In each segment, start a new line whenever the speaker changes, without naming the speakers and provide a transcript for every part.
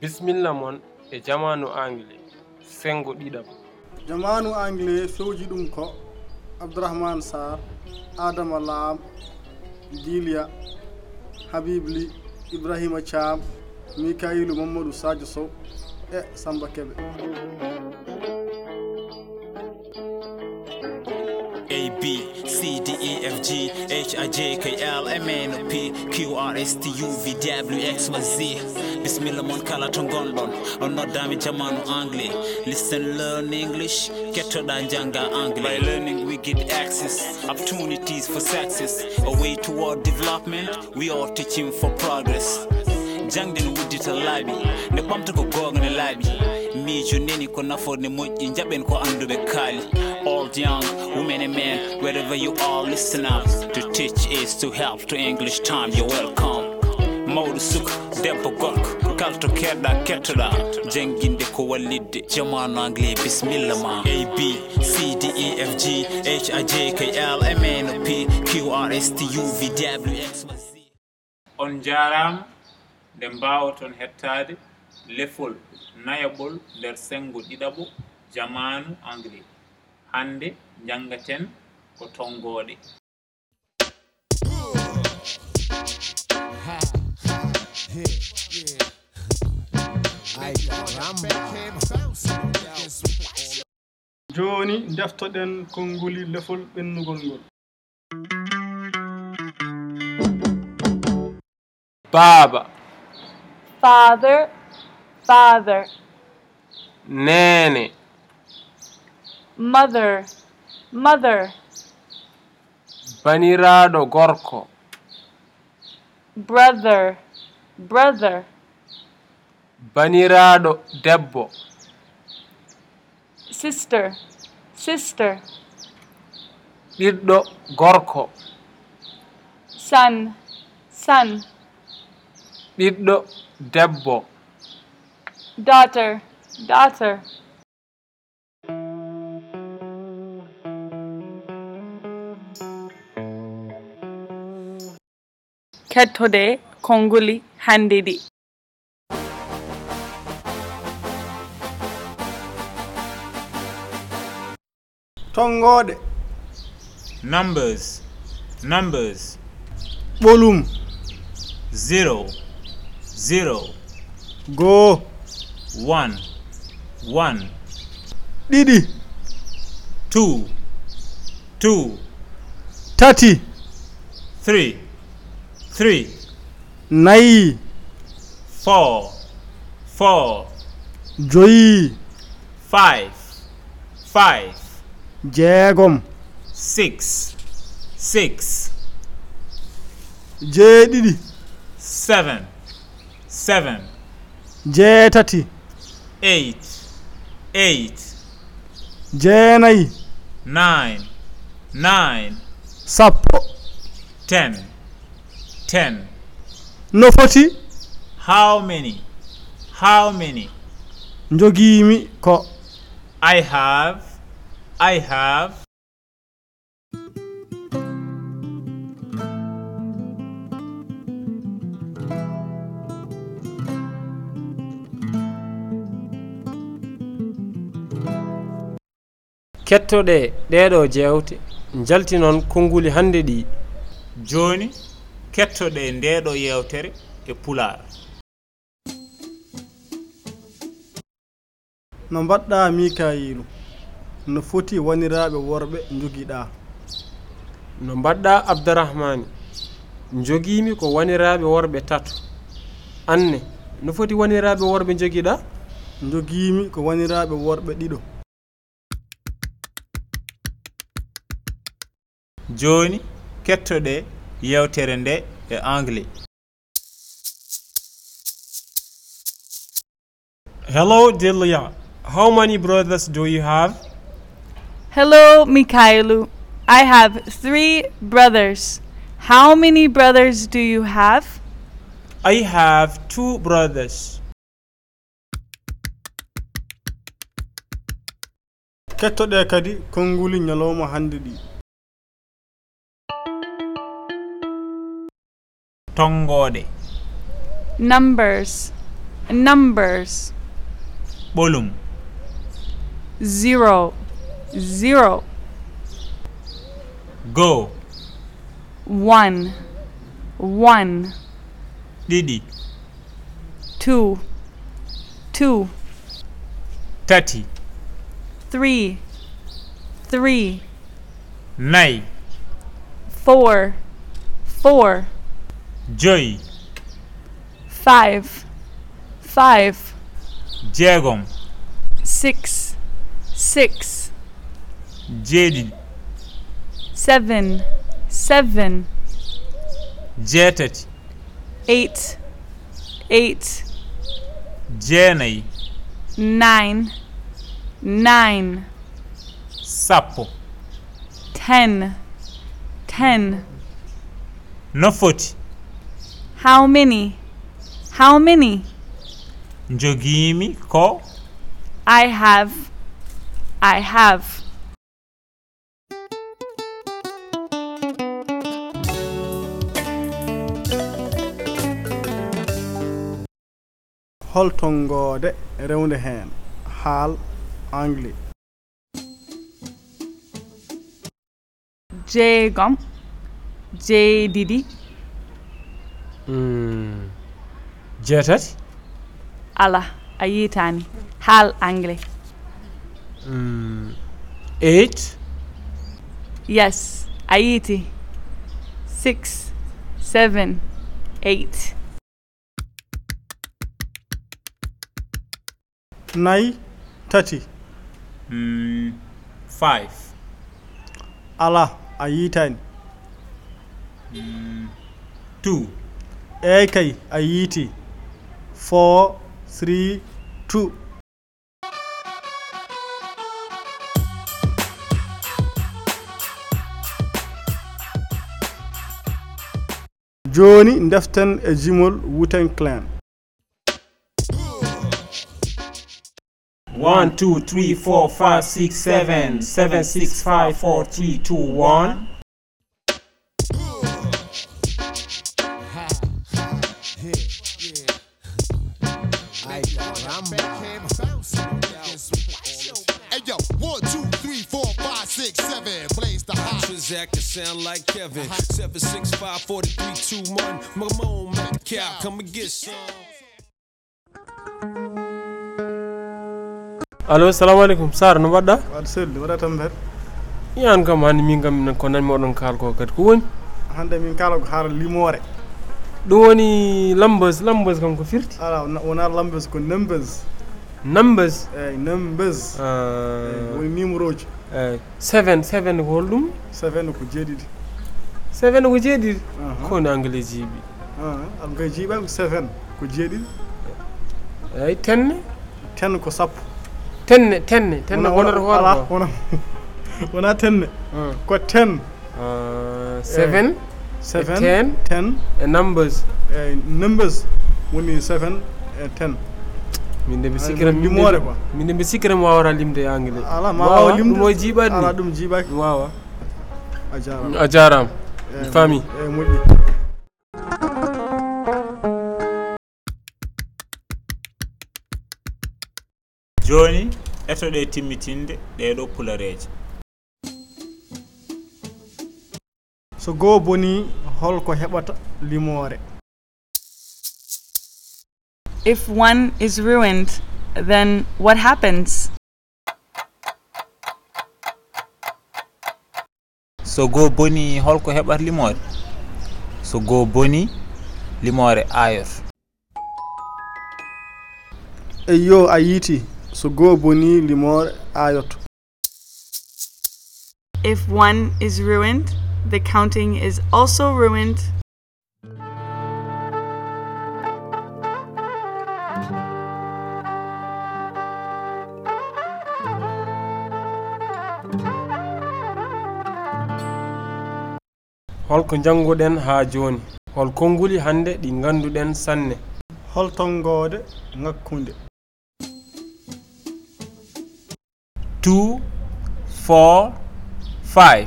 bisimilla moon e jamanu englais senngo ɗiɗam
jamanu anglais fewji ɗum ko abdourahmane sar adama laam dilia habibli ibrahima thiam mikailu mamadou sadio sow e samba keɓe
A B C D E F G H I J K L M N O P Q R S T U V W X Y Z Bismillah mon kala to gonɗon on noddami jamanu anglais listen learn English kettoɗa janga anglais by learning we get access opportunities for success a way toward development we are teaching for progress jangde no wuddita laaɓi nde ɓamta ko goonga ne laaɓi miijo neni ko nafoode moƴƴi jaɓen ko annduɓe kaali old young women and men wherever you are listen up to teach is to help to english time you're welcome mawɗo suka debbo gorko kala to keerɗa kettoɗa jannginde ko wallidde jamanu anglais bisimilla ma a b c d e f g h i j k l m n o p q r s t u v w x y z
on jaarama nde mbawaton hettade lefol nayaɓol nder sengo ɗiɗaɓo jamanu anglais hande janggaten ko tongoɗe
joni deftoɗen konnguli lefol ɓennugol ngol
baaba
father, father,
neene
mother, mother,
baniraaɗo gorko
brother, brother,
baniraaɗo debbo
sister, sister,
ɓiɗɗo gorko
son, son,
ɓiɗɗo debbo
daughter, daughter, kettode kongoli handiɗi
tongoɗe
numbers numbers
ɓolum
0 0
goo
1 1
ɗiɗi
2 2
tati
3 3
nayi
4 4
joyi
5 5
jeegom
6 6
jeeɗiɗi
7 7
jeetati
8 8
jeenayi
9 9
sappo
10 10
no foti
how many how many
jogiimi ko
i have i have
kettoɗe ɗeɗo jewte jalti noon konnguli hannde ɗi
joni kettoɗe ndeɗo yewtere e pular
no mbaɗɗa mikayilu no foti waniraaɓe worɓe jogiɗa
no mbaɗɗa abdarahmani jogiimi ko waniraaɓe worɓe tato anne no foti waniraaɓe worɓe jogiɗa
jogiimi ko waniraaɓe worɓe ɗiɗo
joni kettoɗe yewtere nde e anglais
Hello, Delia. How many brothers do you have?
Hello, Mikhailu. I have three brothers. How many brothers do you have?
I have two brothers.
kettoɗe kadi konnguli ñalawma hannde ɗi
tongoɗe
Numbers. Numbers
ɓolum
zero, zero,
goo
one, one,
ɗiɗi
two, two,
tati
three, three,
nayi
four, four,
joyi
five, five,
jeegom
six, six,
jeeɗiɗi
seven, seven,
jeetati
eight, eight,
jeenayi
nine, nine,
sappo
ten, ten.
no foti
How many? How many?
jogiimi ko
I have. I have.
holtongoode rewde heen haal anglais
J gum. J didi.
jeetati
Ala. Ayitani. Hal angle.
eight
Yes. Ayiti. Six. Seven. Eight.
nayi tati
mm, five
ala a yiitani
two
eyi kay a yiiti 4 3 2 joni deften e jimol wuten clan
One, two, three, four, five, six, seven, seven, six, five, four, three, two, one.
Hey yo, one, two, three, four, five, six, seven. Blaze the hot. Uh-huh. Transact to sound like Kevin. Seven, six, five, four, three, two, one. My own Mac Cow, come and get some.
allo salamu aleykum sara no mbaɗɗa
waɗa selli waɗa tan mbeɗa
yan kam hannde min kam minen ko nanmi oɗon kaal ko kadi ko woni
hande min kala ko haara limore
ɗum woni lambes lambes kam ko firti
ala wona- wona lambes ko numbers
numbes
eyyi numbers Eyi, woni numéro ji
uh, seven seven ko holɗum
seven ko jeeɗiɗi
seven ko jeeɗiɗi
Ahan.
ko woni anglais jiiɓi
Ah, aɗa koye jiiɓami ko seven ko jeeɗiɗi
eyi tenne
ten ko sappo
tenne tenne tenne
Wona-
wonata
wona- ala,
hoore ko
wona- wona tenne
Ah.
ko ten
Ah, seven
seven
ten.
ten
e numbers
e numbers woni seven e ten
min de mbi
Ah,
sikkiram min
ɗum
de-
limore quoi.
min de mbi sikkiram wawata limde e anglais
ala ma wawa limde
ɗum o jiiɓani
ala
ni
ɗum jiiɓaki
wawa
a jarama
a jarama
Eyi,
mi faami.
eyi moƴƴi
jooni etoɗe timmitinde ɗeɗo pulareeje
so goo boni holko heɓata limore
If one is ruined, then what happens?
so goo boni holko heɓat limoore so goo boni limoore aayot
e yo a yiiti so goo boni limore ayoto
If one is ruined, the counting is also ruined.
holko jannguɗen haa jooni hol konnguli hannde ɗi ngannduɗen sanne
holtongode ngakkunde
2 4 5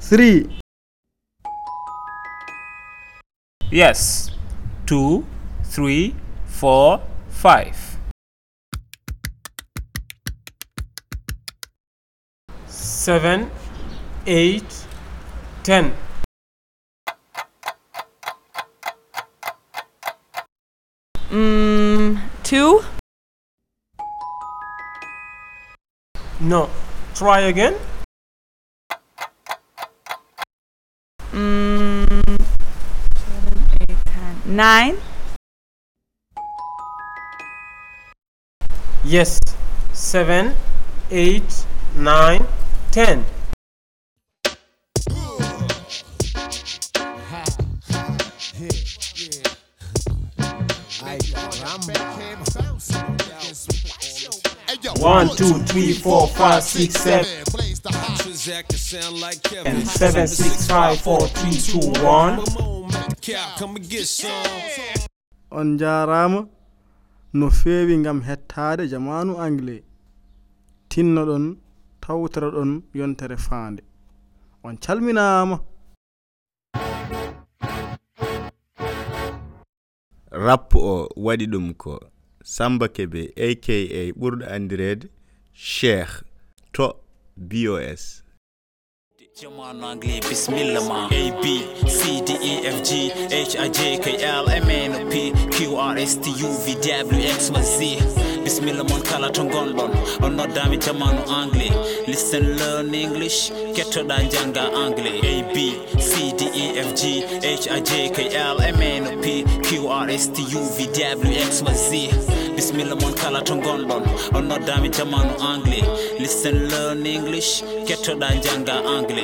3
Yes. Two, three, four, five.
seven, eight, ten.
Mm, two.
No. Try again.
Mm, seven, eight, ten. Nine.
Yes. Seven, eight, nine, ten.
One, two, three, four, five, six, seven.
Plays the hot. Transact to sound like Kevin.
And seven, six, five, four, three, two, one.
Come on, Mac Cow, come and get some.
on jaarama no feewi ngam hettaade jamanu anglais tinnoɗon tawtora ɗon yontere faande on calminaama
rappu o waɗi ɗum ko samba kebe aka ɓurɗo andirede cheikh to bos
Jamanu anglais bismillah ma A B C D E F G H I J K L M N O P Q R S T U V W X Y Z Bismillah mon kala to gonɗon on noddami jamanu anglais Listen learn English kettoɗa janga anglais A B C D E F G H I J K L M N O P Q R S T U V W X Y Z Bismillah mon kala to gonɗon on noddami jamanu anglais Listen learn English kettoɗa janga anglais